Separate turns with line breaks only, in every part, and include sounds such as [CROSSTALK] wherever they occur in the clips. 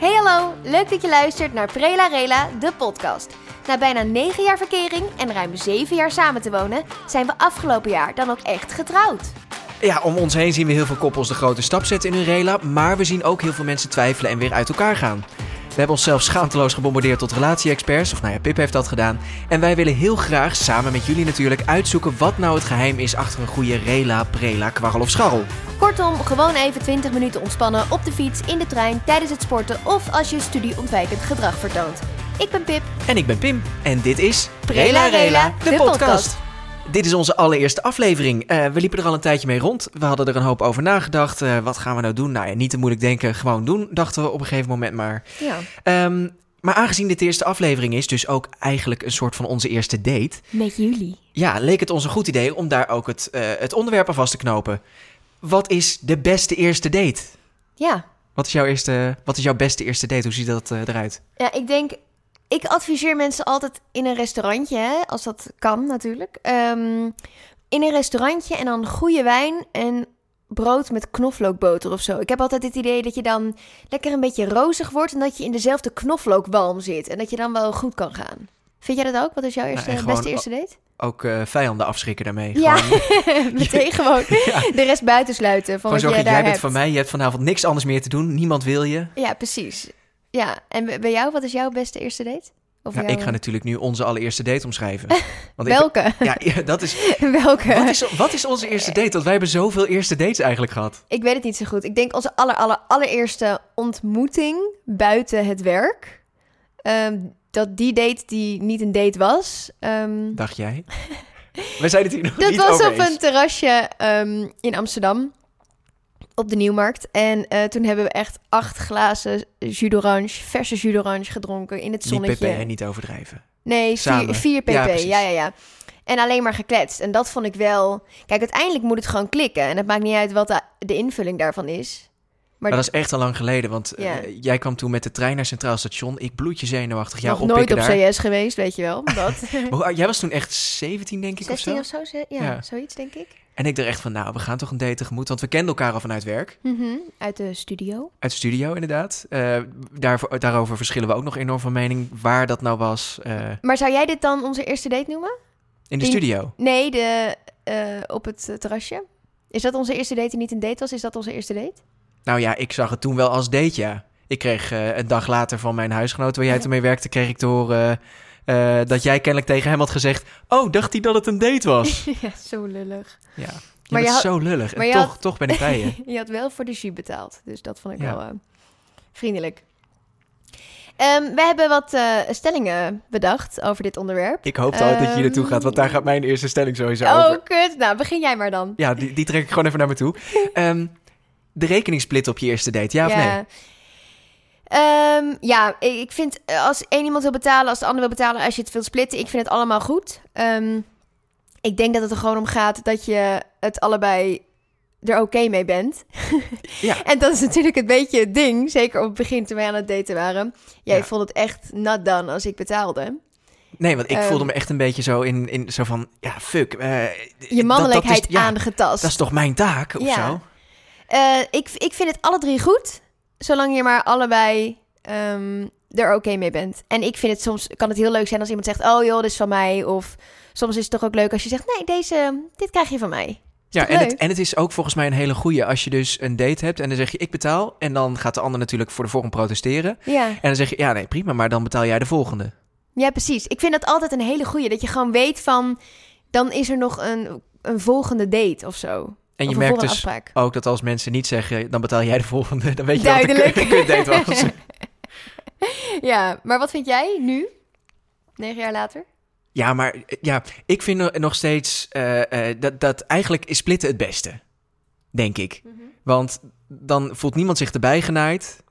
Hallo, leuk dat je luistert naar Prela Rela, de podcast. Na bijna 9 jaar verkering en ruim 7 jaar samen te wonen, zijn we afgelopen jaar dan ook echt getrouwd.
Ja, om ons heen zien we heel veel koppels de grote stap zetten in hun rela, maar we zien ook heel veel mensen twijfelen en weer uit elkaar gaan. We hebben onszelf schaamteloos gebombardeerd tot relatie-experts, of nou ja, Pip heeft dat gedaan. En wij willen heel graag, samen met jullie natuurlijk, uitzoeken wat nou het geheim is achter een goede rela, prela, kwarrel of scharrel.
Kortom, gewoon even 20 minuten ontspannen op de fiets, in de trein, tijdens het sporten of als je studieontwijkend gedrag vertoont. Ik ben Pip.
En ik ben Pim en dit is
Prela Rela, de podcast.
Dit is onze allereerste aflevering. Eh, we liepen er al een tijdje mee rond. We hadden er een hoop over nagedacht. Eh, wat gaan we nou doen? Nou ja, niet te moeilijk denken, gewoon doen, dachten we op een gegeven moment maar.
Ja.
Ehm, maar aangezien dit de eerste aflevering is, dus ook eigenlijk een soort van onze eerste date,
Met jullie.
ja, leek het ons een goed idee om daar ook het, eh, het onderwerp aan vast te knopen. Wat is de beste eerste date?
Ja.
Wat is jouw, eerste, wat is jouw beste eerste date? Hoe ziet dat eh, eruit?
Ja, ik denk. Ik adviseer mensen altijd in een restaurantje, hè, als dat kan natuurlijk. Ehm, in een restaurantje en dan goede wijn en brood met knoflookboter of zo. Ik heb altijd het idee dat je dan lekker een beetje rozig wordt en dat je in dezelfde knoflookwalm zit. En dat je dan wel goed kan gaan. Vind jij dat ook? Wat is jouw eerste,
en gewoon-
beste eerste
[LAUGHS]
date? [LAUGHS]
Ook eh, vijanden afschrikken daarmee.
Ja, [LAUGHS]
Gewoon,
meteen gewoon
[LAUGHS] Ja.
de rest buitensluiten van
gewoon
wat
zorgen
jij
dat
daar
jij bent
hebt.
van mij. Je hebt vanavond niks anders meer te doen. Niemand wil je.
Ja, precies. Ja, en bij- bij jou, wat is jouw beste eerste date? Of
Nou,
jouw-
ik ga natuurlijk nu onze allereerste
[LAUGHS]
date omschrijven. Want ik,
Welke? [LAUGHS]
ja, ja, dat is,
Welke?
wat is. Wat is
[LAUGHS]
onze eerste date? Want wij hebben zoveel eerste dates eigenlijk gehad.
Ik weet het niet zo goed. Ik denk onze aller, aller, allereerste ontmoeting buiten het werk. Ehm, dat die date die niet een date was. Ehm,
Dacht
[LAUGHS]
jij? Wij zijn het hier nog
dat
niet
was
over
op
eens.
een terrasje ehm, in Amsterdam. Op de Nieuwmarkt. En eh, toen hebben we echt acht glazen jus d'orange, verse jus d'orange gedronken in het
Niet pp
zonnetje.
en niet overdrijven.
Nee,
Samen.
4 pp.
Ja,
Ja,
precies.
ja, ja, En alleen maar gekletst. En dat vond ik wel. Kijk, uiteindelijk moet het gewoon klikken. En het maakt niet uit wat de, de invulling daarvan is. Maar,
Maar dat is echt al lang geleden, want eh,
Ja.
jij kwam toen met de trein naar Centraal Station. Ik bloedje zenuwachtig. Ja,
nog nooit op
daar.
CS geweest, weet je
[LAUGHS]
wel. Dat.
Maar hoe- jij was toen echt 17, denk ik, of
16
zo.
of zo, ze- ja,
Ja.
zoiets denk ik.
En ik dacht echt van, nou, we gaan toch een date tegemoet. Want we kenden elkaar al vanuit werk.
Mhm, Uit de studio.
Uit de studio, inderdaad. Eh, daarvoor, daarover verschillen we ook nog enorm van mening. Waar dat nou was eh,
Maar zou jij dit dan onze eerste date noemen?
in de
In-
studio.
Nee, de, eh, op het eh, terrasje. Is dat onze eerste date die niet een date was? Is dat onze eerste date?
Nou ja, ik zag het toen wel als date, ja. Ik kreeg eh, een dag later van mijn huisgenoot, waar jij toen mee werkte, kreeg ik te horen eh, eh, dat jij kennelijk tegen hem had gezegd... Oh, dacht hij dat het een date
[LAUGHS]
was?
[LAUGHS] ja, zo lullig.
ja, maar
je had-
zo lullig.
maar
en
je
toch,
had-
toch ben
[LAUGHS]
ik bij je.
je had wel voor de jus betaald. Dus dat vond ik
Ja.
wel eh, vriendelijk. Ehm, we hebben wat eh, stellingen bedacht over dit onderwerp.
Ik hoopte altijd dat je hier naartoe gaat, want daar gaat mijn eerste stelling sowieso over.
Oh, kut. Nou, begin jij maar dan.
Ja, die, die trek ik gewoon even naar me
[LAUGHS]
toe. Ehm, de rekening splitten op je eerste date, ja of nee?
Ehm, ja, ik ik vind eh, als één iemand wil betalen, als de ander wil betalen, als je het wilt splitten, ik vind het allemaal goed. Ehm, ik denk dat het er gewoon om gaat dat je het allebei er oké mee bent. [LAUGHS]
Ja.
En dat is natuurlijk een beetje het ding, zeker op het begin toen wij aan het daten waren. Jij
Ja.
vond het echt not done als ik betaalde.
Nee, want ik
Ehm,
voelde me echt een beetje zo in, in zo van, ja, fuck. eh, dat- dat
Je
is-
mannelijkheid
ja,
aangetast.
Dat is toch mijn taak, of
Ja.
zo?
Eh, ik, ik vind het alle drie goed, zolang je maar allebei ehm, er oké mee bent. En ik vind het soms, kan het heel leuk zijn als iemand zegt, oh joh, dit is van mij. Of soms is het toch ook leuk als je zegt, nee, deze, dit krijg je van mij.
Ja,
toch
en het,
leuk?
en het is ook volgens mij een hele goeie als je dus een date hebt en dan zeg je ik betaal en dan gaat de ander natuurlijk voor de vorm protesteren.
Ja,
En dan zeg je ja nee prima, maar dan betaal jij de volgende.
ja precies. Ik vind dat altijd een hele goeie, dat je gewoon weet van, dan is er nog een, een volgende date of zo.
En
of
je
een
merkt
volgende
dus
afspraak.
ook dat als mensen niet zeggen dan betaal jij de volgende, dan weet je
Duidelijk.
dat het een kut- kutdate was.
[LAUGHS] Ja, maar wat vind jij nu, negen jaar later?
ja, maar eh, ja, ik vind no- nog steeds eh, eh, dat, dat eigenlijk is splitten het beste, denk ik. Want dan voelt niemand zich erbij genaaid,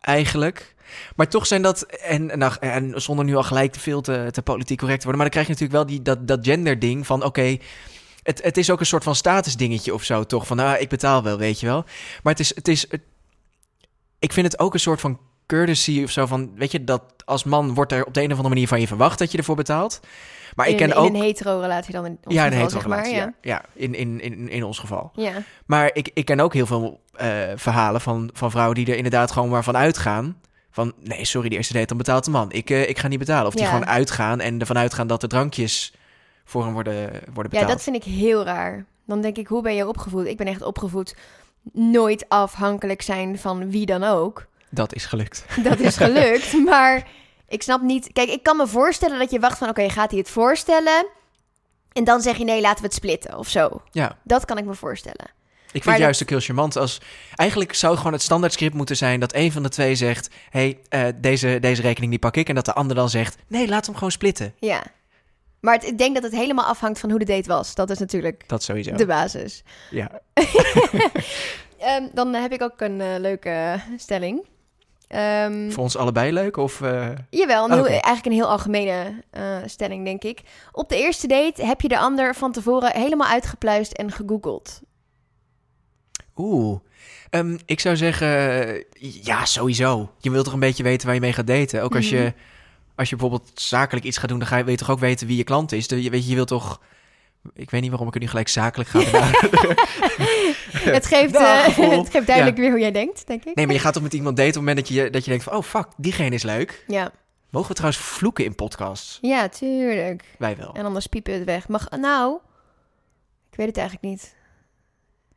eigenlijk. Maar toch zijn dat, en, en, nou, en zonder nu al gelijk te veel te, te politiek correct te worden... maar dan krijg je natuurlijk wel die, dat, dat gender-ding van... oké, het, het is ook een soort van status-dingetje of zo, toch? Van, nou, ik betaal wel, weet je wel. Maar het is, het is het- ik vind het ook een soort van courtesy of zo van... weet je, dat als man wordt er op de een of andere manier van je verwacht... dat je ervoor betaalt. Maar ik
in,
ken
een-
ook...
in een hetero-relatie dan in ons
ja, een
geval,
hetero
zeg maar.
relatie,
Ja.
ja. ja in, in, in, in ons geval.
ja.
Maar ik, ik ken ook heel veel eh, verhalen van, van vrouwen die er inderdaad gewoon maar van uitgaan. Van nee, sorry, de eerste date, dan betaalt de man. Ik, eh, ik ga niet betalen. Of die
Ja.
gewoon uitgaan en ervan uitgaan dat de drankjes voor hem worden, worden
Ja,
betaald.
dat vind ik heel raar. Dan denk ik, hoe ben je opgevoed? Ik ben echt opgevoed nooit afhankelijk zijn van wie dan ook.
dat is gelukt.
Dat is gelukt, maar ik snap niet... Kijk, ik kan me voorstellen dat je wacht van... Oké, gaat hij het voorstellen? En dan zeg je nee, laten we het splitten of zo.
Ja.
Dat kan ik me voorstellen.
Ik vind
Maar dat-
juist ook heel charmant als... Eigenlijk zou gewoon het standaard script moeten zijn dat een van de twee zegt... hey, eh, deze, deze rekening die pak ik. En dat de ander dan zegt, nee, laat hem gewoon splitten.
Ja. Maar het- ik denk dat het helemaal afhangt van hoe de date was. Dat is natuurlijk
Dat sowieso.
de basis.
Ja.
Ehm, dan heb ik ook een eh, leuke stelling. Ehm,
Voor ons allebei leuk of... eh,
Jawel, een heel-
Oké.
eigenlijk een heel algemene eh, stelling, denk ik. Op de eerste date heb je de ander van tevoren helemaal uitgepluist en
[LAUGHS]
gegoogeld.
Oeh. Ehm, ik zou zeggen, eh, ja, sowieso. Je wilt toch een beetje weten waar je mee gaat daten. Ook als,
Mhm.
je, als je bijvoorbeeld zakelijk iets gaat doen, dan ga je, wil je toch ook weten wie je klant is. De, je, weet je, je wilt toch... Ik weet niet waarom ik er nu gelijk zakelijk ga. benaderen.
Het geeft, eh,
Dag,
[LAUGHS]
Rob.
het geeft duidelijk weer hoe jij denkt, denk ik.
[LAUGHS] Nou, nee, maar je gaat toch met iemand daten op het moment dat je, dat je denkt van... Oh, fuck, diegene is leuk.
Ja.
Mogen we trouwens vloeken in podcasts?
ja, tuurlijk.
Wij wel.
En anders piepen we het weg. Mag, nou, ik weet het eigenlijk niet.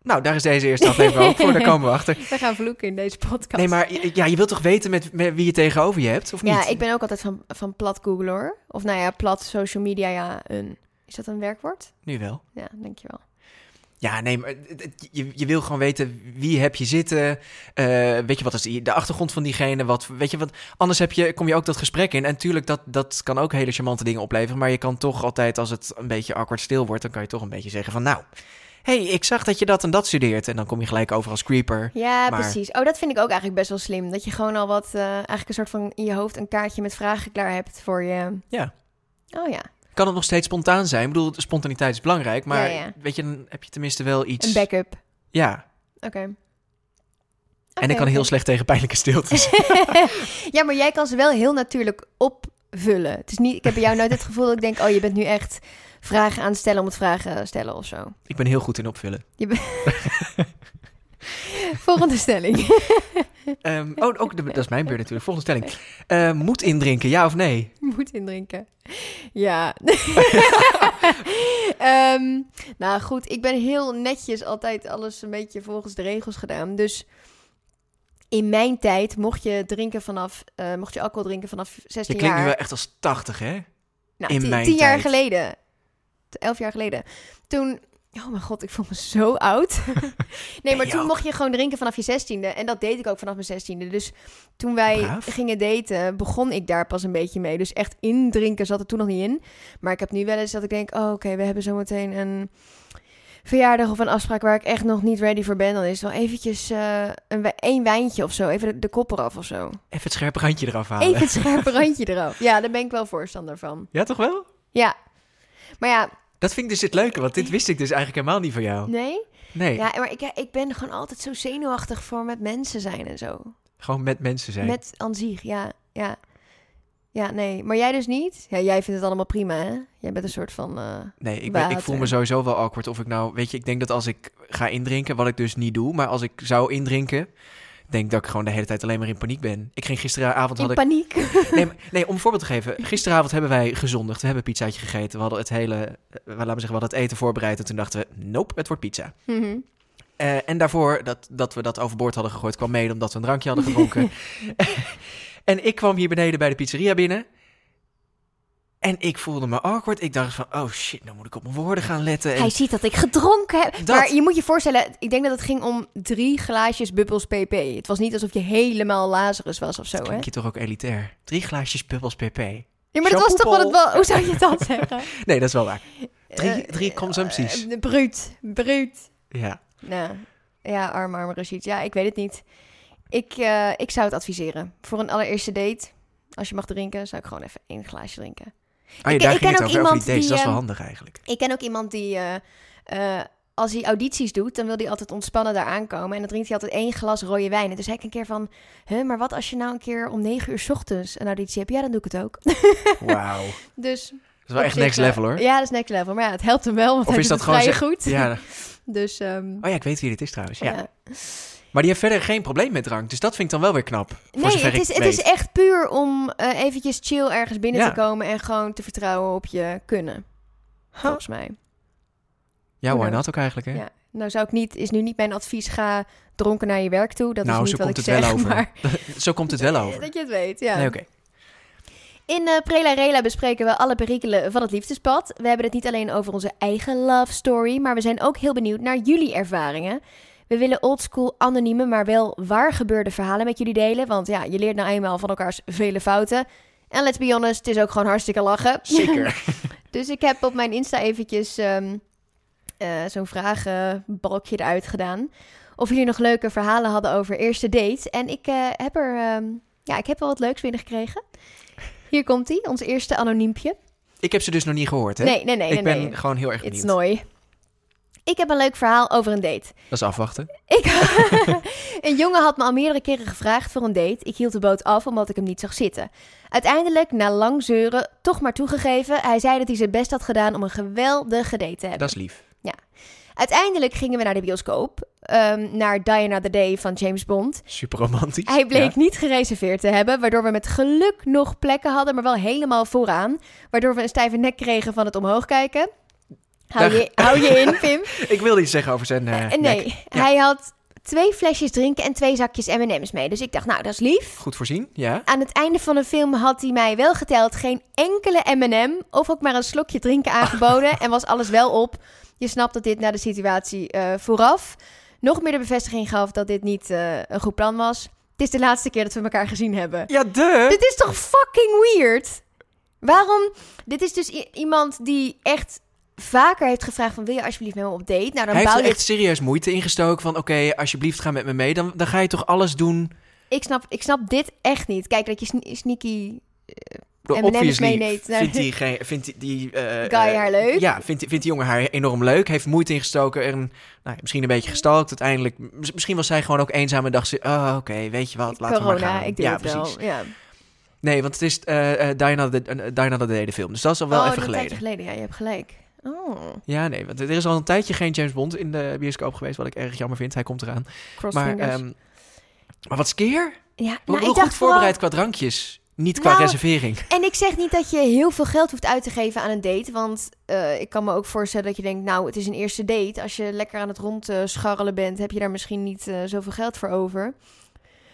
Nou, daar is deze eerste aflevering ook voor. Daar komen we achter.
[LAUGHS] We gaan vloeken in deze podcast.
Nee, maar je- ja, je wilt toch weten met, met wie je tegenover je hebt, of niet?
ja, ik ben ook altijd van, van plat Google hoor. Of nou ja, plat social media, ja. Een, is dat een werkwoord?
Nu wel.
Ja, dankjewel.
Ja, nee, maar het- het- je, je wil gewoon weten wie heb je zitten. eh, weet je wat is die- de achtergrond van diegene? Wat, weet je wat? Anders heb je, kom je ook dat gesprek in. En natuurlijk, dat, dat kan ook hele charmante dingen opleveren. Maar je kan toch altijd, als het een beetje awkward stil wordt, dan kan je toch een beetje zeggen van nou. hey, ik zag dat je dat en dat studeert. En dan kom je gelijk over als creeper.
Ja,
Maar-
precies. Oh, dat vind ik ook eigenlijk best wel slim. Dat je gewoon al wat, eh, eigenlijk een soort van in je hoofd een kaartje met vragen klaar hebt voor je.
Ja.
Oh ja,
Kan het nog steeds spontaan zijn? Ik bedoel, spontaniteit is belangrijk. Maar
Ja, ja.
weet je, dan heb je tenminste wel iets.
een backup. Oké.
Ja. Dus- en
Oké,
ik kan heel
oké.
slecht tegen pijnlijke
[LAUGHS]
stiltes.
Ja, maar jij kan ze wel heel natuurlijk opvullen. Het is niet, ik heb bij jou nooit het gevoel dat ik denk, oh, je bent nu echt vragen aan het stellen om het vragen stellen of
[LAUGHS]
zo.
ik ben heel goed in opvullen.
Volgende stelling.
Ehm, oh, ook de- dat is mijn beurt natuurlijk. Volgende stelling.
[LAUGHS]
Eh, moet indrinken, ja of nee?
Moet indrinken. Ja. [LAUGHS] Ehm, nou goed, ik ben heel netjes altijd alles een beetje volgens de regels gedaan. Dus in mijn tijd mocht je drinken vanaf, eh, mocht je alcohol drinken vanaf
Je
16
klinkt nu
jaar.
wel echt als 80, hè?
nou,
in
tien,
mijn
tien jaar
tijd.
geleden. T- Elf jaar geleden. Toen, oh mijn god, ik voel me zo oud. [LAUGHS] nee, maar
je
toen
ook.
mocht je gewoon drinken vanaf je zestiende. En dat deed ik ook vanaf mijn zestiende. Dus toen wij
Braaf.
gingen daten, begon ik daar pas een beetje mee. Dus echt indrinken zat er toen nog niet in. Maar ik heb nu wel eens dat ik denk, oh oké, we hebben zometeen een verjaardag of een afspraak waar ik echt nog niet ready voor ben. Dan is het wel eventjes eh, een, wij- één wijntje of zo. Even de, de kop eraf of zo.
Even het scherpe randje eraf halen.
Even het
[LAUGHS]
scherpe randje eraf. Ja, daar ben ik wel voorstander van.
Ja, toch wel?
Ja. Maar ja,
Dat vind ik dus het leuke, want dit wist ik dus eigenlijk helemaal niet van jou.
Nee?
Nee,
Ja, maar ik, ik ben gewoon altijd zo zenuwachtig voor met mensen zijn en zo.
gewoon met mensen zijn.
Met aan zich, ja, ja. Ja, nee. Maar jij dus niet? Ja, jij vindt het allemaal prima, hè? Jij bent een soort van... eh,
Nee, ik, ben, ik voel me
Water.
sowieso wel awkward of ik nou... Weet je, ik denk dat als ik ga indrinken, wat ik dus niet doe... maar als ik zou indrinken, denk dat ik gewoon de hele tijd alleen maar in paniek ben. Ik ging gisteravond...
in
had ik
paniek. [LAUGHS]
Nee, maar- nee, om een voorbeeld te geven. Gisteravond hebben wij gezondigd. We hebben pizzaatje gegeten. We hadden het hele, eh, laten we zeggen, we hadden het eten voorbereid. En toen dachten we, nope, het wordt pizza.
Mhm.
Eh, en daarvoor dat, dat we dat overboord hadden gegooid, kwam mede omdat we een drankje hadden
[LAUGHS]
gedronken. en ik kwam hier beneden bij de pizzeria binnen. En ik voelde me awkward. Ik dacht van, oh shit, nou moet ik op mijn woorden gaan letten. En-
Hij ziet dat ik gedronken heb.
Dat-
Maar je moet je voorstellen, ik denk dat het ging om drie glaasjes bubbels pp. Het was niet alsof je helemaal Lazarus was of zo, hè?
Klink je toch ook elitair? Drie glaasjes bubbels pp.
Ja, maar dat was toch wel het...
Sjapoepel.
Wel, hoe zou je dat zeggen?
Nee, dat is wel waar. [LAUGHS] Drie,
Eh,
drie consumpties.
eh, bruut, bruut.
Ja.
Nou, ja, arm, arm Rashid. Ja, ik weet het niet. Ik, eh, ik zou het adviseren. Voor een allereerste date, als je mag drinken, zou ik gewoon even één glaasje drinken.
Ah, ja,
Ik-
daar
ik
ging
ken ook
het over, over die
iemand
dates.
die,
Dat is wel
ehm,
handig eigenlijk.
Ik ken ook iemand die, eh, eh, als hij audities doet, dan wil hij altijd ontspannen daar aankomen. En dan drinkt hij altijd één glas rode wijn. En toen zei ik een keer van, huh, maar wat als je nou een keer om negen uur 's ochtends een auditie hebt? Ja, dan doe ik het ook. [LAUGHS]
Wauw. Dat
dus
is wel echt next level hoor.
Ja, dat is next level. Maar ja, het helpt hem wel, want
Of
hij
is
doet
dat
het
gewoon
vrij goed.
Ja.
[LAUGHS] Dus, ehm,
Oh ja, ik weet wie dit is trouwens. Ja.
ja.
Maar Maar die heeft verder geen probleem met drank. Dus dat vind ik dan wel weer knap. Voor
Nee,
zover
het is,
ik
het
weet.
is echt puur om eh, eventjes chill ergens binnen
Ja.
te komen en gewoon te vertrouwen op je kunnen. Volgens mij.
Ja, why
Ja.
not ook eigenlijk, hè?
Ja. Nou zou ik niet, is nu niet mijn advies, ga dronken naar je werk toe. Dat
nou,
is
zo
niet wat
komt
ik
het
zeg, [LAUGHS]
wel over.
maar
[LAUGHS] Zo komt het wel
[LAUGHS]
over.
dat je het weet, ja.
Nee, oké.
In eh, Prela Rela bespreken we alle perikelen van het liefdespad. We hebben het niet alleen over onze eigen love story, maar we zijn ook heel benieuwd naar jullie ervaringen. We willen oldschool anonieme, maar wel waar gebeurde verhalen met jullie delen. Want ja, je leert nou eenmaal van elkaars vele fouten. En let's be honest, het is ook gewoon hartstikke lachen.
Zeker.
Dus ik heb op mijn Insta eventjes ehm, eh, zo'n vragenbalkje eruit gedaan. Of jullie nog leuke verhalen hadden over eerste dates. En ik eh, heb er ehm, ja, ik heb wel wat leuks binnengekregen. Hier komt ie, ons eerste anoniempje.
ik heb ze dus nog niet gehoord, hè?
Nee, nee, nee.
ik
nee,
ben
nee.
gewoon heel erg
It's
benieuwd.
nooi. Ik heb een leuk verhaal over een date.
Dat is afwachten.
[LAUGHS] Ik, een jongen had me al meerdere keren gevraagd voor een date. Ik hield de boot af omdat ik hem niet zag zitten. Uiteindelijk, na lang zeuren, toch maar toegegeven. Hij zei dat hij zijn best had gedaan om een geweldige date te hebben.
Dat is lief.
Uiteindelijk gingen we naar de bioscoop. ehm, naar Diana the Day van James Bond.
Super romantisch.
Hij bleek
Ja.
niet gereserveerd te hebben, waardoor we met geluk nog plekken hadden, maar wel helemaal vooraan. Waardoor we een stijve nek kregen van het omhoog kijken. Hou,
Dag.
je, hou je in, Pim.
Ik wilde iets zeggen over zijn eh,
Eh, nee,
nek.
hij had twee flesjes drinken en twee zakjes M&M's mee. Dus ik dacht, nou, dat is lief.
Goed voorzien, ja.
Aan het einde van de film had hij mij wel geteld geen enkele M&M of ook maar een slokje
[LAUGHS]
drinken aangeboden en was alles wel op. Je snapt dat dit na de situatie eh, vooraf nog meer de bevestiging gaf dat dit niet eh, een goed plan was. Het is de laatste keer dat we elkaar gezien hebben.
Ja, de.
Dit is toch fucking weird? Waarom? Dit is dus i- iemand die echt vaker heeft gevraagd van wil je alsjeblieft met me op date? Nou, dan
Hij heeft
bouw
er
je
echt serieus moeite in gestoken van... oké, alsjeblieft, ga met me mee. Dan, dan ga je toch alles doen...
Ik snap, ik snap dit echt niet. Kijk, dat je sne- sneaky...
Door
M&M's
obviously
meeneemt. Nee.
vindt die, geen- vindt die, die eh,
Guy
eh,
haar leuk?
Ja, vindt, die- vindt die jongen haar enorm leuk. Heeft moeite ingestoken en nou, ja, misschien een beetje gestalkt. Uiteindelijk, mis- misschien was zij gewoon ook eenzaam en dacht ze... Oh, oké, weet je wat, laten we maar
corona,
gaan.
ik doe
ja,
het wel.
precies.
Ja.
Nee, want het is eh eh, Diana de, eh, Diana de Day, de film. Dus dat is al wel
oh,
even
dat tijdje
geleden.
geleden. Ja, je hebt gelijk. Oh,
Ja, nee, want er is al een tijdje geen James Bond in de bioscoop geweest... wat ik erg jammer vind. Hij komt eraan. Maar,
crossfingers.
ehm, maar wat skeer?
ja,
Hoe
nou, ik
hoe
dacht
goed voorbereid
vooral-
qua drankjes? Niet qua
Nou,
reservering.
En ik zeg niet dat je heel veel geld hoeft uit te geven aan een date. Want eh, ik kan me ook voorstellen dat je denkt, nou, het is een eerste date. Als je lekker aan het rondscharrelen bent, heb je daar misschien niet eh, zoveel geld voor over.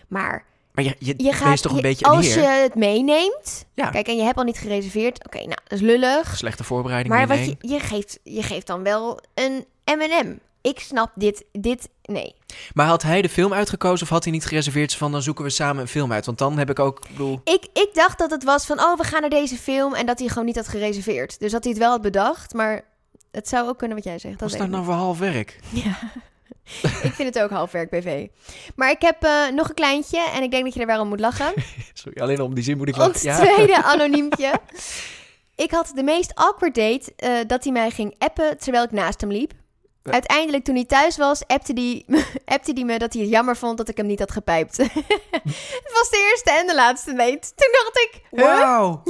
Maar
Maar je, je,
je gaat...
wees toch een
je-
beetje een
als
heer.
je het meeneemt...
Ja.
Kijk, en je hebt al niet gereserveerd. Oké, nou, dat is lullig.
Slechte voorbereiding.
Maar wat
hierheen.
je, je, geeft, je geeft dan wel een M&M. Ik snap dit, dit, nee.
Maar had hij de film uitgekozen of had hij niet gereserveerd van dan zoeken we samen een film uit? Want dan heb ik ook, ik bedoel,
Ik, ik dacht dat het was van, oh, we gaan naar deze film... en dat hij gewoon niet had gereserveerd. Dus dat hij het wel had bedacht, maar het zou ook kunnen wat jij zegt. Dat
was
weet
dat
ik
nou voor half werk?
niet. Ja. ik vind het ook halfwerk BV. Maar ik heb eh, nog een kleintje en ik denk dat je er wel om moet lachen.
[LAUGHS] Sorry, alleen om die zin moet ik
Ons
lachen. Ja.
tweede
[LAUGHS]
anoniempje. Ik had de meest awkward date eh, dat hij mij ging appen terwijl ik naast hem liep. Uiteindelijk, toen hij thuis was, appte hij appte die [LAUGHS] me dat hij het jammer vond dat ik hem niet had gepijpt. [LAUGHS] het was de eerste en de laatste date. Toen dacht ik, huh?
[LAUGHS] Wauw.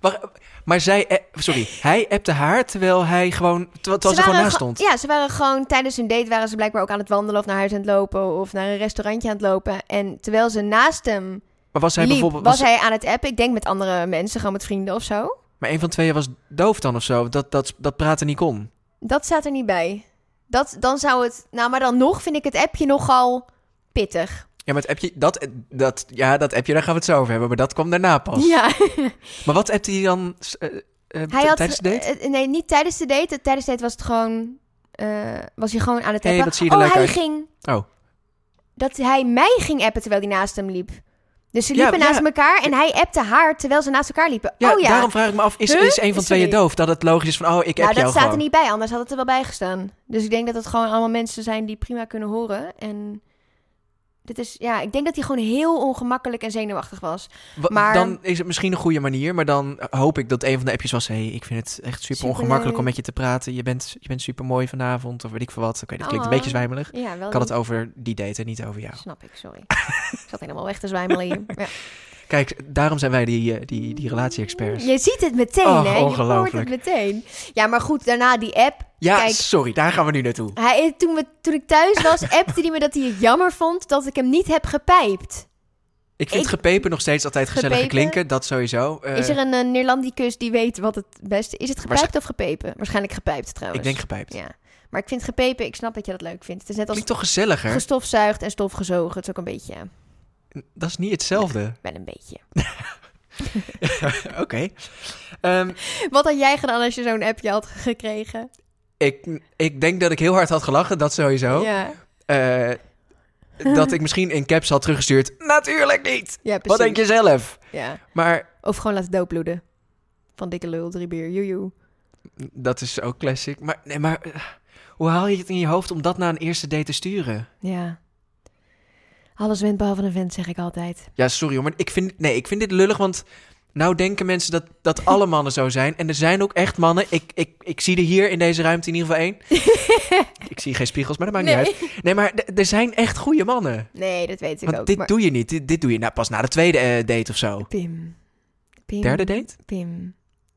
Wacht, maar zij, eh, sorry, hij appte haar terwijl hij gewoon, terwijl, terwijl ze, gewoon
waren
naast
ge-
stond.
Ja, ze waren gewoon tijdens hun date waren ze blijkbaar ook aan het wandelen of naar huis aan het lopen of naar een restaurantje aan het lopen. En terwijl ze naast hem
Maar was hij
liep, was,
bijvoorbeeld, was,
hij aan het appen. Ik denk met andere mensen, gewoon met vrienden of zo.
maar een van tweeën was doof dan of zo, dat, dat, dat praten niet kon.
Dat staat er niet bij. Dat, dan zou het. Nou, maar dan nog vind ik het appje nogal pittig.
Ja, maar het appje, dat, dat, ja, dat appje, daar gaan we het zo over hebben, maar dat kwam daarna pas.
Ja,
Maar wat appte hij dan eh, eh,
hij had.
tijdens de date?
eh, nee, niet tijdens de date. Tijdens de date was het gewoon. eh, was hij gewoon aan het
Hey,
appen.
wat zie je er
oh,
leuk
hij
uit.
ging.
Oh.
Dat hij mij ging appen terwijl hij naast hem liep. Dus ze
Ja,
liepen
ja.
naast elkaar en hij appte haar terwijl ze naast elkaar liepen.
Ja,
oh ja.
daarom vraag ik me af, is,
Huh?
is een van tweeën
Sorry.
doof? Dat het logisch is van, oh, ik heb
nou,
jou
dat staat er
gewoon.
niet bij, anders had het er wel bij gestaan. Dus ik denk dat het gewoon allemaal mensen zijn die prima kunnen horen. En dit is, ja, ik denk dat hij gewoon heel ongemakkelijk en zenuwachtig was.
Wa-
maar-
Dan is het misschien een goede manier, maar dan eh, hoop ik dat een van de appjes was... hey, ik vind het echt super,
Superleuk.
ongemakkelijk om met je te praten. Je bent, je bent super mooi vanavond, of weet ik veel wat. Oké, dat klinkt een
Oh.
beetje zwijmelig.
Ja, wel
Ik had het over die date en niet over jou.
Snap ik, sorry. ik zat helemaal weg te zwijmelen
[LAUGHS]
hier. Ja.
Kijk, daarom zijn wij die, eh, die, die relatie-experts.
Je ziet het meteen,
Oh,
hè? Je hoort het
ongelooflijk.
meteen. Ja, maar goed, daarna die app.
Ja,
Kijk. Ah,
sorry, daar gaan we nu naartoe.
Hij, toen, we, toen ik thuis was,
[LAUGHS]
appte hij me dat hij het jammer vond dat ik hem niet heb gepijpt.
Ik vind
Ik-
gepepen nog steeds altijd gezellig
Gepepen?
klinken, dat sowieso. Eh,
is er een eh, Neerlandicus die weet wat het beste is? Het gepijpt
Waarsch-
of gepepen? Waarschijnlijk gepijpt trouwens.
Ik denk gepijpt.
Ja. Maar ik vind gepepen, ik snap dat je dat leuk vindt. Het is net als
Klinkt toch gezelliger?
gestofzuigd en stofgezogen. Het is ook een beetje, ja,
Dat is niet
[LAUGHS]
hetzelfde.
wel een beetje.
Oké. Ehm,
Wat had jij gedaan als je zo'n appje had gekregen?
ik, ik denk dat ik heel hard had gelachen, dat sowieso.
Ja,
Eh, dat ik misschien in caps had teruggestuurd. Natuurlijk niet!
ja precies.
Wat denk je zelf?
Ja.
Maar
Of gewoon laten doodbloeden. Van dikke lul, drie bier, joejoe.
dat is ook classic. Maar, nee, maar eh, hoe haal je het in je hoofd om dat na een eerste date te sturen?
Ja. Alles wint behalve een vent, zeg ik altijd.
Ja, sorry hoor, maar ik vind, nee, ik vind dit lullig, want nou denken mensen dat,
[LAUGHS]
dat alle mannen zo zijn. En er zijn ook echt mannen. Ik, ik, ik zie er hier in deze ruimte in ieder geval
[LAUGHS]
één. ik zie geen spiegels, maar dat maakt niet
Nee.
uit. Nee, maar d- er zijn echt goede mannen.
Nee, dat weet ik
Want
ook.
dit
maar-
doe je niet. Dit, dit doe je nou, pas na de tweede eh, date of zo.
Pim. Pim.
Derde date?
Pim.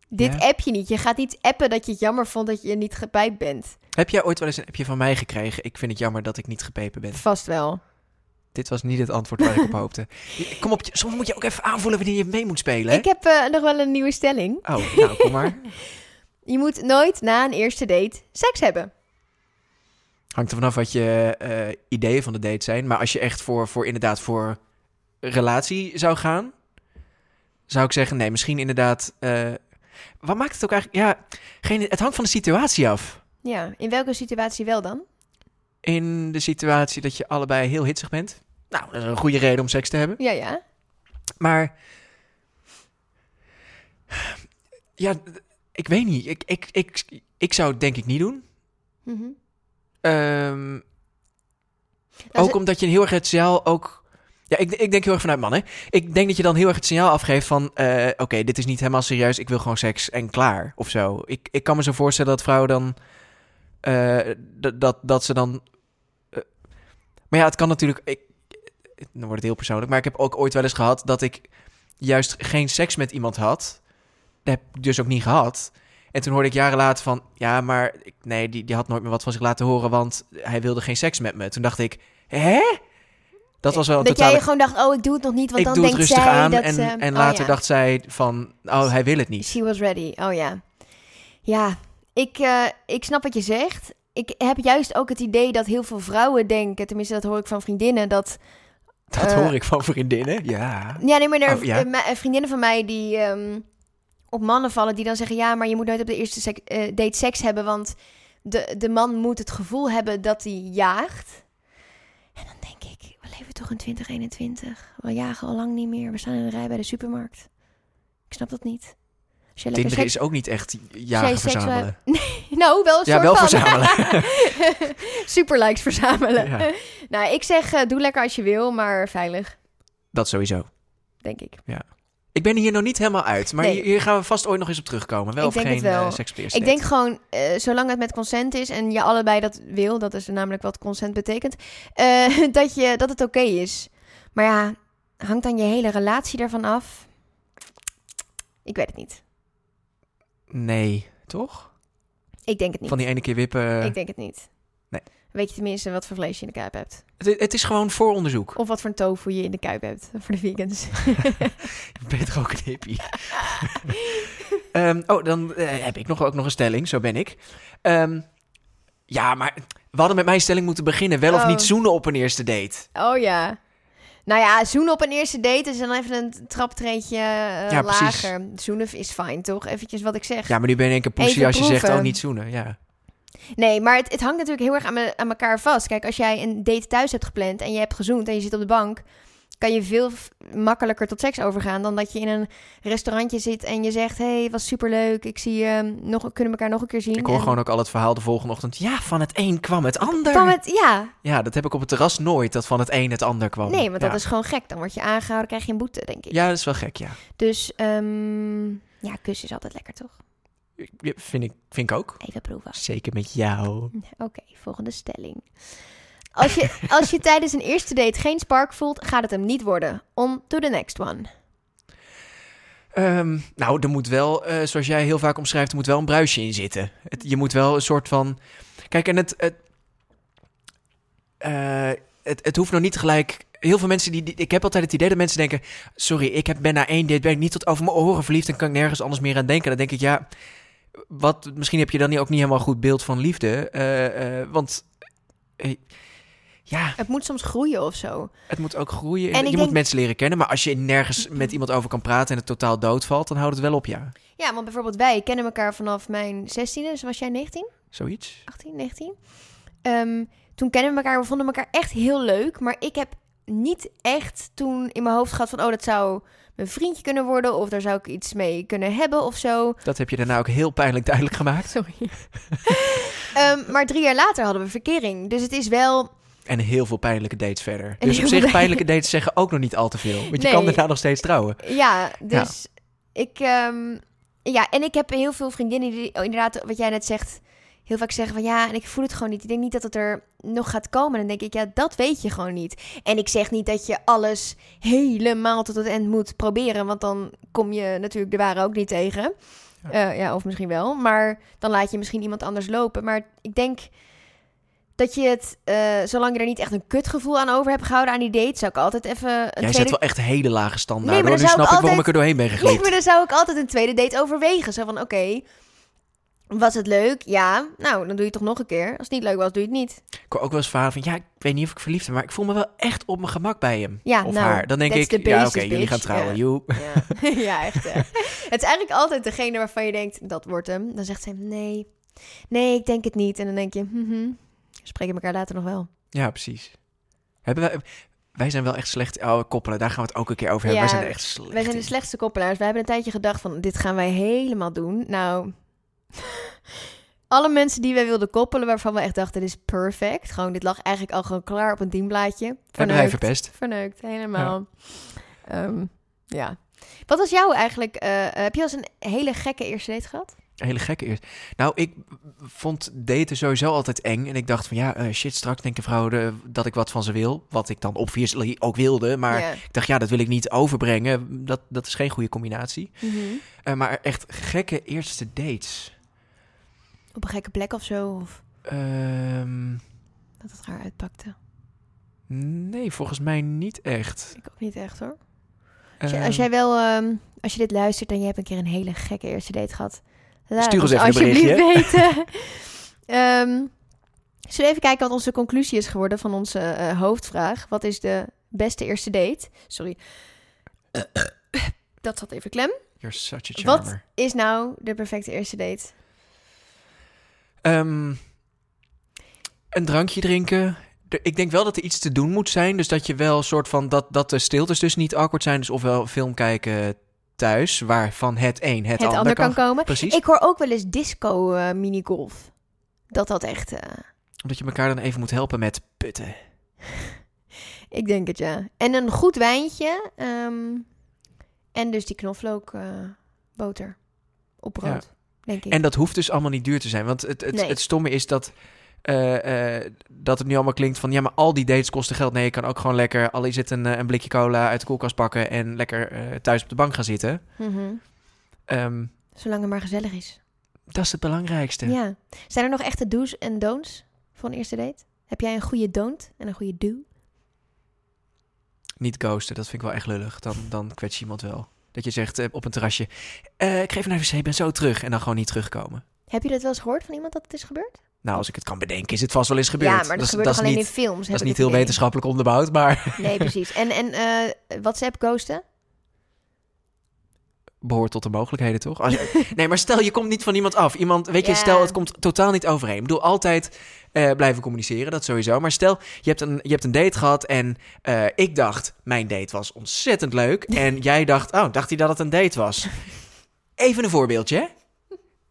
Dit
Ja.
app je niet. Je gaat niet appen dat je het jammer vond dat je niet gepijpt bent.
Heb jij ooit wel eens een appje van mij gekregen? Ik vind het jammer dat ik niet gepepen ben.
Vast wel.
Dit was niet het antwoord waar ik op
[LAUGHS]
hoopte. Kom op, soms moet je ook even aanvoelen wanneer je mee moet spelen. Hè?
Ik heb eh, nog wel een nieuwe stelling.
Oh, nou, kom maar.
Je moet nooit na een eerste date seks hebben.
Hangt er vanaf wat je eh, ideeën van de date zijn. Maar als je echt voor, voor inderdaad voor relatie zou gaan, zou ik zeggen, nee, misschien inderdaad. eh, wat maakt het ook eigenlijk? Ja, geen, het hangt van de situatie af.
Ja, in welke situatie wel dan?
In de situatie dat je allebei heel hitsig bent. Nou, dat is een goede reden om seks te hebben.
Ja, ja.
Maar. Ja, d- ik weet niet. Ik, ik, ik, ik zou het denk ik niet doen.
Mhm.
Ehm,
Nou,
ook
ze-
omdat je heel erg het signaal ook... Ja, ik, ik denk heel erg vanuit mannen. Ik denk dat je dan heel erg het signaal afgeeft van... eh, Oké, dit is niet helemaal serieus. Ik wil gewoon seks en klaar. Of zo. Ik, ik kan me zo voorstellen dat vrouwen dan... eh, d- dat, dat ze dan... eh, maar ja, het kan natuurlijk... Ik, dan wordt het heel persoonlijk. Maar ik heb ook ooit wel eens gehad dat ik juist geen seks met iemand had. Dat heb ik dus ook niet gehad. En toen hoorde ik jaren later van... Ja, maar ik, nee, die, die had nooit meer wat van zich laten horen... want hij wilde geen seks met me. Toen dacht ik... Hè? Dat was wel een
dat
totale
jij gewoon dacht, oh, ik doe het nog niet, want
ik
dan
doe het
denkt
rustig
zij
aan.
dat
en,
ze...
en
Oh,
later
ja.
dacht zij van, oh, hij wil het niet.
She was ready. Oh ja. Ja, ik, eh, ik snap wat je zegt. Ik heb juist ook het idee dat heel veel vrouwen denken, tenminste dat hoor ik van vriendinnen, dat...
Dat
Eh,
hoor ik van
[LAUGHS]
vriendinnen. Ja.
Ja, nee, maar er,
Oh, ja.
eh, me- eh, vriendinnen van mij die ehm, op mannen vallen, die dan zeggen, ja, maar je moet nooit op de eerste sek- eh, date seks hebben, want de, de man moet het gevoel hebben dat hij jaagt. En dan denk ik, we leven toch in 2021? We jagen al lang niet meer. We staan in een rij bij de supermarkt. Ik snap dat niet. Als jij lekker
Tinder
seks
is ook niet echt
Als
jagen
jij seks wil
verzamelen.
Nou, wel een
Ja,
soort
wel
van.
verzamelen.
[LAUGHS] Superlikes verzamelen.
Ja,
Nou, ik zeg, eh, doe lekker als je wil, maar veilig,
dat sowieso.
denk ik.
Ik ben hier nog niet helemaal uit, maar
Nee.
hier- hier gaan we vast ooit nog eens op terugkomen. Wel
Ik
of
denk
geen
het wel.
eh, seks op de eerste
Ik denk gewoon, eh, zolang het met consent is en je allebei dat wil, dat is namelijk wat consent betekent, eh, [LAUGHS] dat, je, dat het oké is. Maar ja, hangt dan je hele relatie ervan af? Ik weet het niet.
date. Nee, toch?
Ik denk het niet.
Van die ene keer wippen.
Ik denk het niet.
Nee.
Weet je tenminste wat voor vlees je in de kuip hebt?
Het, het is gewoon vooronderzoek.
Of wat voor een tofu je in de kuip hebt voor de vegans?
Beter ook een
[LAUGHS]
hippie. Ehm, oh, dan eh, heb ik nog, ook nog een stelling. Zo ben ik. Ehm, ja, maar we hadden met mijn stelling moeten beginnen. Wel of
Oh.
niet zoenen op een eerste date.
Oh ja. Nou ja, zoenen op een eerste date is dan even een traptreetje eh,
Ja, precies.
lager. Zoenen is fijn, toch? Eventjes wat ik zeg.
Ja, maar nu ben je in één keer poesie
Even
als je zegt,
proeven.
oh, niet zoenen. Ja.
Nee, maar het, het hangt natuurlijk heel erg aan, me- aan elkaar vast. Kijk, als jij een date thuis hebt gepland en je hebt gezoend en je zit op de bank... kan je veel f- makkelijker tot seks overgaan dan dat je in een restaurantje zit... en je zegt, hé, hey, was superleuk, ik zie je, nog, kunnen we elkaar nog een keer zien.
Ik hoor
En-
gewoon ook al het verhaal de volgende ochtend. Ja, van het een kwam het ander.
Kan het, ja,
Ja, dat heb ik op het terras nooit, dat van het een het ander kwam.
nee, want
Oh, ja.
dat is gewoon gek. Dan word je aangehouden, krijg je een boete, denk ik.
Ja, dat is wel gek, ja.
Dus, ehm, ja, kus is altijd lekker, toch?
Ja, Vind ik, vind ik ook.
Even proeven.
Zeker met jou.
Oké, volgende stelling. Als je, als je tijdens een eerste date geen spark voelt, gaat het hem niet worden. On to the next one.
Ehm, nou, er moet wel, eh, zoals jij heel vaak omschrijft, er moet wel een bruisje in zitten. Het, je moet wel een soort van. Kijk, en het. Het, eh, het, het hoeft nog niet gelijk. Heel veel mensen die, die- Ik heb altijd het idee dat mensen denken: Sorry, ik heb, ben na één date ben ik niet tot over mijn oren verliefd en kan ik nergens anders meer aan denken. Dan denk ik, ja. Wat, misschien heb je dan ook niet helemaal goed beeld van liefde. eh, eh, want. eh, ja,
Het moet soms groeien of zo.
het moet ook groeien.
En ik
je moet
denk-
mensen leren kennen. Maar als je nergens met iemand over kan praten en het totaal doodvalt, dan houdt het wel op, ja.
Ja, want bijvoorbeeld wij kennen elkaar vanaf mijn 16e. Dus was jij 19?
Zoiets?
18, 19? Ehm, toen kennen we elkaar. We vonden elkaar echt heel leuk. Maar ik heb niet echt toen in mijn hoofd gehad van... oh, dat zou mijn vriendje kunnen worden... of daar zou ik iets mee kunnen hebben of zo.
Dat heb je daarna ook heel pijnlijk duidelijk gemaakt.
[LAUGHS] Sorry. Ehm, maar drie jaar later hadden we verkering. Dus het is wel...
En heel veel pijnlijke dates verder.
En
dus op
heel
zich,
veel-
pijnlijke dates zeggen ook nog niet al te veel. Want je
Nee.
kan daarna nog steeds trouwen.
Ja, dus ik... ehm, ja, en ik heb heel veel vriendinnen die oh, inderdaad, wat jij net zegt... heel vaak zeggen van ja, en ik voel het gewoon niet. Ik denk niet dat het er nog gaat komen. Dan denk ik, ja, dat weet je gewoon niet. En ik zeg niet dat je alles helemaal tot het eind moet proberen. Want dan kom je natuurlijk de ware ook niet tegen.
Ja.
Eh, ja, of misschien wel. Maar dan laat je misschien iemand anders lopen. Maar ik denk dat je het, eh, zolang je er niet echt een kutgevoel aan over hebt gehouden aan die date, zou ik altijd even een
Jij
tweede
zet wel echt hele lage
Nee,
standaarden.
maar
hoor.
dan
nu
zou
snap
ik
ik waarom
altijd-
ik er doorheen ben
Nee,
geglipt.
maar dan zou ik altijd een tweede date overwegen. Zo van, oké, was het leuk? Ja, nou, dan doe je het toch nog een keer. Als het niet leuk was, doe je het niet.
Ik hoor ook wel eens verhalen van... Ja, ik weet niet of ik verliefd ben, maar ik voel me wel echt op mijn gemak bij hem.
Ja,
of
nou,
haar. Dan denk
that's
ik,
the
ja oké,
basis,
jullie gaan
bitch.
trouwen.
Ja.
[LAUGHS] joe.
Ja, [LAUGHS] ja echt. hè. Het is eigenlijk altijd degene waarvan je denkt, dat wordt hem. Dan zegt zij, nee, nee, ik denk het niet. En dan denk je, hm, hm, we spreken elkaar later nog wel.
Ja, precies. Hebben wij... Wij zijn wel echt slecht oude koppelen. Daar gaan we het ook een keer over hebben.
Ja,
wij zijn er echt slecht
Wij zijn de
in.
slechtste koppelaars. Wij hebben een tijdje gedacht van, dit gaan wij helemaal doen. Nou, [LAUGHS] alle mensen die wij wilden koppelen, waarvan we echt dachten, dit is perfect. Gewoon, dit lag eigenlijk al gewoon klaar op een dienblaadje.
Hebben wij
Verneukt.
verpest.
Verneukt, helemaal. Ja. ja. Wat was jou eigenlijk? eh, heb je wel eens een hele gekke eerste date gehad?
Een hele gekke eerst. Nou, ik vond daten sowieso altijd eng. En ik dacht van ja, eh, shit, straks denkt de vrouw de- dat ik wat van ze wil. Wat ik dan obviously ook wilde. Maar
Ja.
ik dacht ja, dat wil ik niet overbrengen. Dat, dat is geen goede combinatie.
Mhm.
Eh, maar echt gekke eerste dates.
Op een gekke plek of zo? Of
Ehm,
dat het raar uitpakte?
nee, volgens mij niet echt.
Ik ook niet echt hoor. Als, je-
Ehm,
als jij wel, ehm, als je dit luistert en je hebt een keer een hele gekke eerste date gehad, laat
Stuur
het
ons even een
alsjeblieft weten. [LAUGHS] Ehm zullen we even kijken wat onze conclusie is geworden van onze eh, hoofdvraag? Wat is de beste eerste date? Sorry. Dat zat even klem.
You're such a
Wat-
charmer.
is nou de perfecte eerste date?
Ehm, een drankje drinken. Er- ik denk wel dat er iets te doen moet zijn. Dus dat je wel een soort van dat, dat de stiltes dus niet awkward zijn. Dus ofwel film kijken thuis, waarvan het een het,
Het, ander kan, komen.
Precies.
Ik hoor ook wel eens disco eh, minigolf. Dat dat echt... eh,
Omdat je elkaar dan even moet helpen met putten.
ik denk het, ja. En een goed wijntje. ehm, en dus die knoflookboter boter op brood, denk ik.
En dat hoeft dus allemaal niet duur te zijn. Want het, het,
Nee.
het stomme is dat. eh, eh, dat het nu allemaal klinkt van ja, maar al die dates kosten geld. Nee, je kan ook gewoon lekker, al is het een, eh, een blikje cola uit de koelkast pakken en lekker eh, thuis op de bank gaan zitten.
Mhm.
Ehm,
Zolang het maar gezellig is.
dat is het belangrijkste.
Ja. Zijn er nog echte do's en don'ts voor een eerste date? Heb jij een goede don't en een goede do?
Niet ghosten, dat vind ik wel echt lullig. Dan, dan kwets je iemand wel. Dat je zegt eh, op een terrasje, eh, ik geef naar de wc, ik ben zo terug. En dan gewoon niet terugkomen.
Heb je dat wel eens gehoord van iemand dat het is gebeurd?
Nou, als ik het kan bedenken, is het vast wel eens gebeurd.
Ja, maar dat, gebeurt
dat
toch alleen
is niet,
in films?
dat is niet heel wetenschappelijk onderbouwd, maar
Nee, precies. En, en eh, WhatsApp ghosten?
behoort tot de mogelijkheden, toch?
[LAUGHS]
Als je- nee, maar stel, je komt niet van iemand af. Iemand, weet je,
Ja.
stel, het komt totaal niet overeen. Ik bedoel, altijd eh, blijven communiceren, dat sowieso. Maar stel, je hebt een, je hebt een date gehad en eh, ik dacht, mijn date was ontzettend
[LAUGHS]
leuk. En jij dacht, oh, dacht hij dat het een date was? Even een voorbeeldje, hè?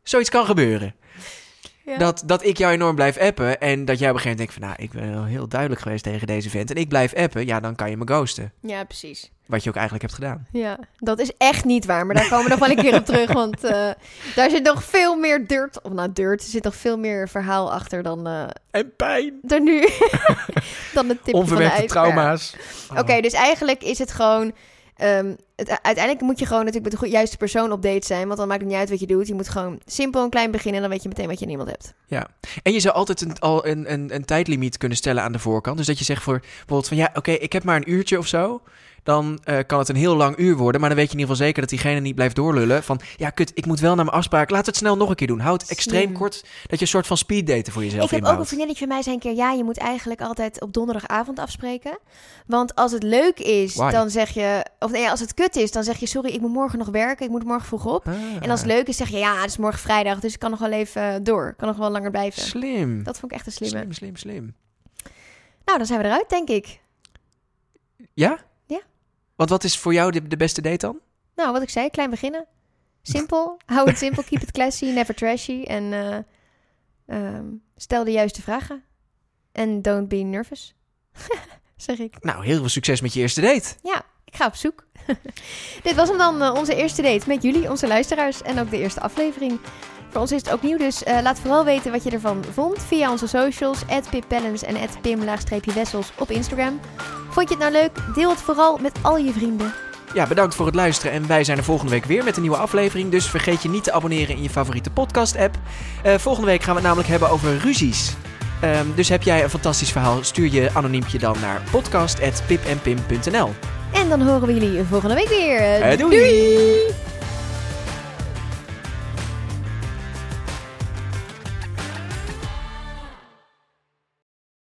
Zoiets kan gebeuren.
Ja.
Dat, dat ik jou enorm blijf appen en dat jij op een gegeven moment denkt van... nou, ik ben wel heel duidelijk geweest tegen deze vent en ik blijf appen. Ja, dan kan je me ghosten.
Ja, precies.
Wat je ook eigenlijk hebt gedaan.
Ja, dat is echt niet waar. Maar daar komen we nog wel een keer op terug. Want eh, daar zit nog veel meer dirt. Of nou, dirt. Er zit nog veel meer verhaal achter dan, eh
En pijn.
dan nu. [LAUGHS] dan het tipje van de
Onverwerkte
ijsberg.
trauma's. Oh.
Oké, dus eigenlijk is het gewoon... Ehm, het, uiteindelijk moet je gewoon natuurlijk met de goe- juiste persoon op date zijn. Want dan maakt het niet uit wat je doet. Je moet gewoon simpel en klein beginnen. En dan weet je meteen wat je in iemand hebt.
En je zou altijd een, al een, een, een tijdlimiet kunnen stellen aan de voorkant. Dus dat je zegt voor bijvoorbeeld van ja, oké, ik heb maar een uurtje of zo. Dan eh, kan het een heel lang uur worden. Maar dan weet je in ieder geval zeker dat diegene niet blijft doorlullen. Van ja, kut, ik moet wel naar mijn afspraak. Laat het snel nog een keer doen. Houd extreem
Slim.
kort dat je een soort van speeddaten voor jezelf
ik heb ook een
inbouwt.
vriendinnetje van mij zei een keer... ja, je moet eigenlijk altijd op donderdagavond afspreken. Want als het leuk is,
Why?
dan zeg je... of nee, als het kut is, dan zeg je... sorry, ik moet morgen nog werken, ik moet morgen vroeg op.
Ah,
En als het leuk is, zeg je... ja, het is morgen vrijdag, dus ik kan nog wel even eh, door. Ik kan nog wel langer blijven.
Slim.
Dat vond ik echt een slimme.
Slim, slim, slim.
Nou, dan zijn we eruit, denk ik.
Ja?
Ja.
Want wat is voor jou de, de beste date dan?
Nou, wat ik zei, klein beginnen. Simpel, [LAUGHS] hou het simpel, keep it classy, never trashy. En eh, ehm, stel de juiste vragen. En don't be nervous, [LAUGHS] zeg ik.
Nou, heel veel succes met je eerste date.
Ja, ik ga op zoek. [LAUGHS] Dit was hem dan, eh, onze eerste date met jullie, onze luisteraars. En ook de eerste aflevering. Voor ons is het ook nieuw, dus eh, laat vooral weten wat je ervan vond via onze socials. @pippellens en pim-wessels op Instagram. Vond je het nou leuk? Deel het vooral met al je vrienden.
Ja, bedankt voor het luisteren en wij zijn er volgende week weer met een nieuwe aflevering. Dus vergeet je niet te abonneren in je favoriete podcast-app. Eh, volgende week gaan we het namelijk hebben over ruzies. Ehm, dus heb jij een fantastisch verhaal, stuur je anoniempje dan naar podcast.pipenpim.nl.
En dan horen we jullie volgende week weer.
Eh, doei!
doei!